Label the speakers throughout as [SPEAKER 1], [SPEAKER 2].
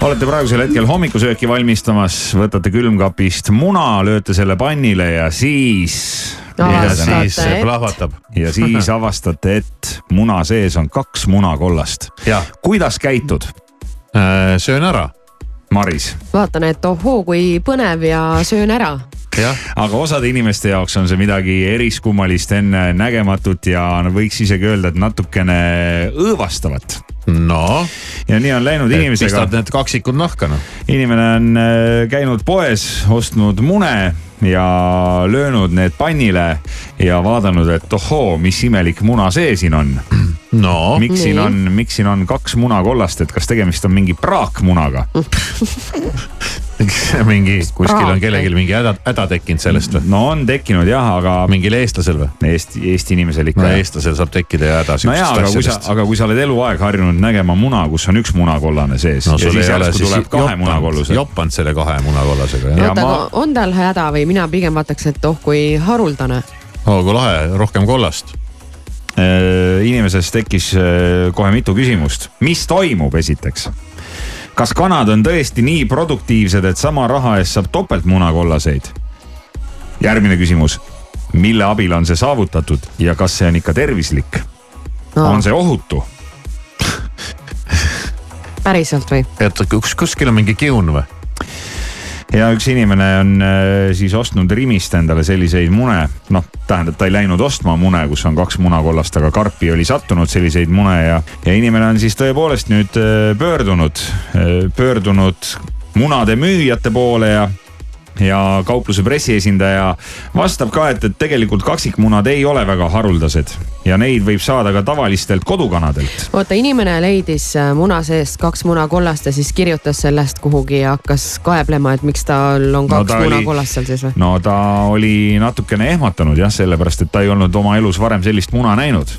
[SPEAKER 1] olete praegusel hetkel hommikusööki valmistamas , võtate külmkapist muna , lööte selle pannile ja siis .
[SPEAKER 2] Ja
[SPEAKER 1] ja
[SPEAKER 2] siis
[SPEAKER 3] et-
[SPEAKER 2] plahvatab .
[SPEAKER 1] siis avastate , et muna sees on kaks munakollast .
[SPEAKER 2] jah ,
[SPEAKER 1] kuidas käitud , Äh,
[SPEAKER 2] söön ära ,
[SPEAKER 1] Maris ?
[SPEAKER 3] vaatan , et ohoo , kui põnev ja söön ära .
[SPEAKER 2] jah ,
[SPEAKER 1] aga osade inimeste jaoks on see midagi eriskummalist , ennenägematut ja no võiks isegi öelda , et natukene õõvastavat .
[SPEAKER 2] no .
[SPEAKER 1] ja nii on läinud inimesega
[SPEAKER 2] pistad . need kaksikud nahka noh .
[SPEAKER 1] inimene on äh, käinud poes , ostnud mune ja löönud need pannile ja vaadanud , et ohoo , mis imelik muna see siin on .
[SPEAKER 2] no ,
[SPEAKER 1] miks siin
[SPEAKER 3] Nii.
[SPEAKER 1] on , miks siin on kaks munakollast , et kas tegemist on mingi praakmunaga ?
[SPEAKER 2] mingi , kuskil on
[SPEAKER 3] praak
[SPEAKER 2] kellelgi mingi häda , häda tekkinud sellest või ?
[SPEAKER 1] no on tekkinud jah , aga
[SPEAKER 2] mingil eestlasel või ?
[SPEAKER 1] Eesti , Eesti inimesel ikka
[SPEAKER 2] no . eestlasel saab tekkida ju häda
[SPEAKER 1] nojaa ,
[SPEAKER 2] siuksest
[SPEAKER 1] aga kui sa ,
[SPEAKER 2] asjadest .
[SPEAKER 1] aga kui sa oled eluaeg harjunud nägema muna , kus on üks munakollane sees no, ja siis järsku tuleb kahe munakollusega .
[SPEAKER 2] jopanud selle kahe munakollasega jah
[SPEAKER 1] Ja
[SPEAKER 3] oota , aga
[SPEAKER 1] ma-
[SPEAKER 3] on tal häda või mina pigem vaataks , et oh kui haruldane .
[SPEAKER 2] oh kui lahe , rohkem kollast .
[SPEAKER 1] inimeses tekkis äh, kohe mitu küsimust , mis toimub esiteks ? kas kanad on tõesti nii produktiivsed , et sama raha eest saab topelt munakollaseid ? järgmine küsimus , mille abil on see saavutatud ja kas see on ikka tervislik ? on see ohutu ?
[SPEAKER 3] päriselt või ?
[SPEAKER 2] et kus , kuskil on mingi kiun või ?
[SPEAKER 1] ja üks inimene on äh, siis ostnud Rimist endale selliseid mune , noh , tähendab , ta ei läinud ostma mune , kus on kaks munakollast , aga karpi oli sattunud selliseid mune ja , ja inimene on siis tõepoolest nüüd äh, pöördunud , pöördunud munade müüjate poole ja ja kaupluse pressiesindaja vastab ka , et , et tegelikult kaksikmunad ei ole väga haruldased ja neid võib saada ka tavalistelt kodukanadelt .
[SPEAKER 3] oota , inimene leidis äh, muna seest kaks munakollast ja siis kirjutas sellest kuhugi ja hakkas kaeblema , et miks tal on kaks
[SPEAKER 1] ta
[SPEAKER 3] no,
[SPEAKER 1] oli-
[SPEAKER 3] munakollast seal sees või ?
[SPEAKER 1] no ta oli natukene ehmatanud jah , sellepärast et ta ei olnud oma elus varem sellist muna näinud .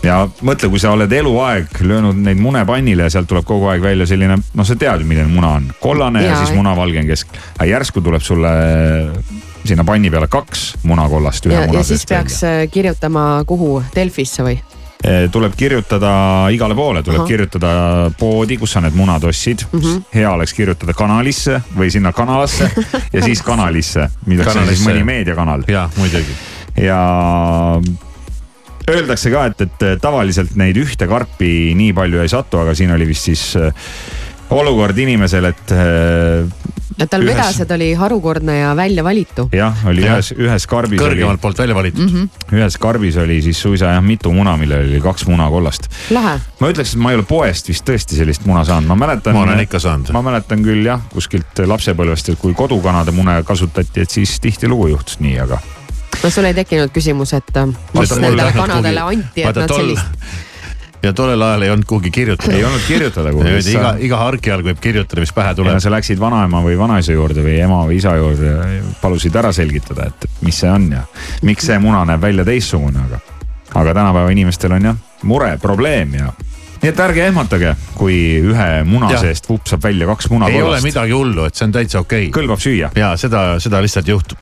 [SPEAKER 1] ja mõtle , kui sa oled eluaeg löönud neid mune pannile ja sealt tuleb kogu aeg välja selline , noh , sa tead ju , milline muna on , kollane ja, ja
[SPEAKER 3] Jaa.
[SPEAKER 1] siis munavalge on kesk . aga järsku tuleb sulle sinna panni peale kaks munakollast ühe
[SPEAKER 3] ja ,
[SPEAKER 1] muna
[SPEAKER 3] ja siis
[SPEAKER 1] seest
[SPEAKER 3] peaks
[SPEAKER 1] välja .
[SPEAKER 3] äh, kirjutama kuhu , Delfisse või ?
[SPEAKER 1] E, tuleb kirjutada igale poole , tuleb
[SPEAKER 3] Ahah. Mhm.
[SPEAKER 1] Aha. kirjutada poodi , kus sa need munad ostsid mm . -hmm. hea oleks kirjutada kanalisse või sinna kanalasse ja siis kanalisse , milleks on siis
[SPEAKER 2] Kanalisse.
[SPEAKER 1] mõni meediakanal .
[SPEAKER 2] jaa , muidugi .
[SPEAKER 1] ja öeldakse ka , et , et tavaliselt neid ühte karpi nii palju ei satu , aga siin oli vist siis äh, olukord inimesel , et äh,
[SPEAKER 3] et tal
[SPEAKER 1] Ühes-
[SPEAKER 3] vedased oli harukordne ja väljavalitu .
[SPEAKER 1] jah , oli
[SPEAKER 2] Jah.
[SPEAKER 1] ühes , ühes karbis oli ,
[SPEAKER 2] kõrgemalt poolt välja valitud mm . -hmm.
[SPEAKER 1] ühes karbis oli siis suisa jah mitu muna , millel oli kaks munakollast .
[SPEAKER 3] lahe ,
[SPEAKER 1] ma ütleks , et ma ei ole poest vist tõesti sellist muna saanud , ma mäletan .
[SPEAKER 2] ma olen ikka saanud .
[SPEAKER 1] ma mäletan küll jah , kuskilt lapsepõlvest , et kui kodukanade mune kasutati , et siis tihtilugu juhtus nii , aga
[SPEAKER 3] no sul ei tekkinud küsimus , et äh, mis
[SPEAKER 1] mul
[SPEAKER 3] nendele
[SPEAKER 1] läheb
[SPEAKER 3] kanadele anti , et nad sellist .
[SPEAKER 2] ja tollel ajal ei olnud kuhugi
[SPEAKER 1] ei
[SPEAKER 2] kirjutada .
[SPEAKER 1] olnud kirjutada kuhugi .
[SPEAKER 2] iga , iga harki all võib kirjutada , mis pähe
[SPEAKER 1] ja
[SPEAKER 2] tuleb .
[SPEAKER 1] sa läksid vanaema või vanaisa juurde või ema või isa juurde ja palusid ära selgitada , et mis see on ja miks see muna näeb välja teistsugune , aga , aga tänapäeva inimestel on jah mure , probleem ja nii et ärge ehmatage , kui ühe muna
[SPEAKER 2] Jah.
[SPEAKER 1] ja. seest vupsab välja kaks
[SPEAKER 2] ei ole
[SPEAKER 1] munakollast ,
[SPEAKER 2] midagi hullu , et see on täitsa okei okay. .
[SPEAKER 1] kõlbab süüa .
[SPEAKER 2] ja seda , seda lihtsalt juhtub .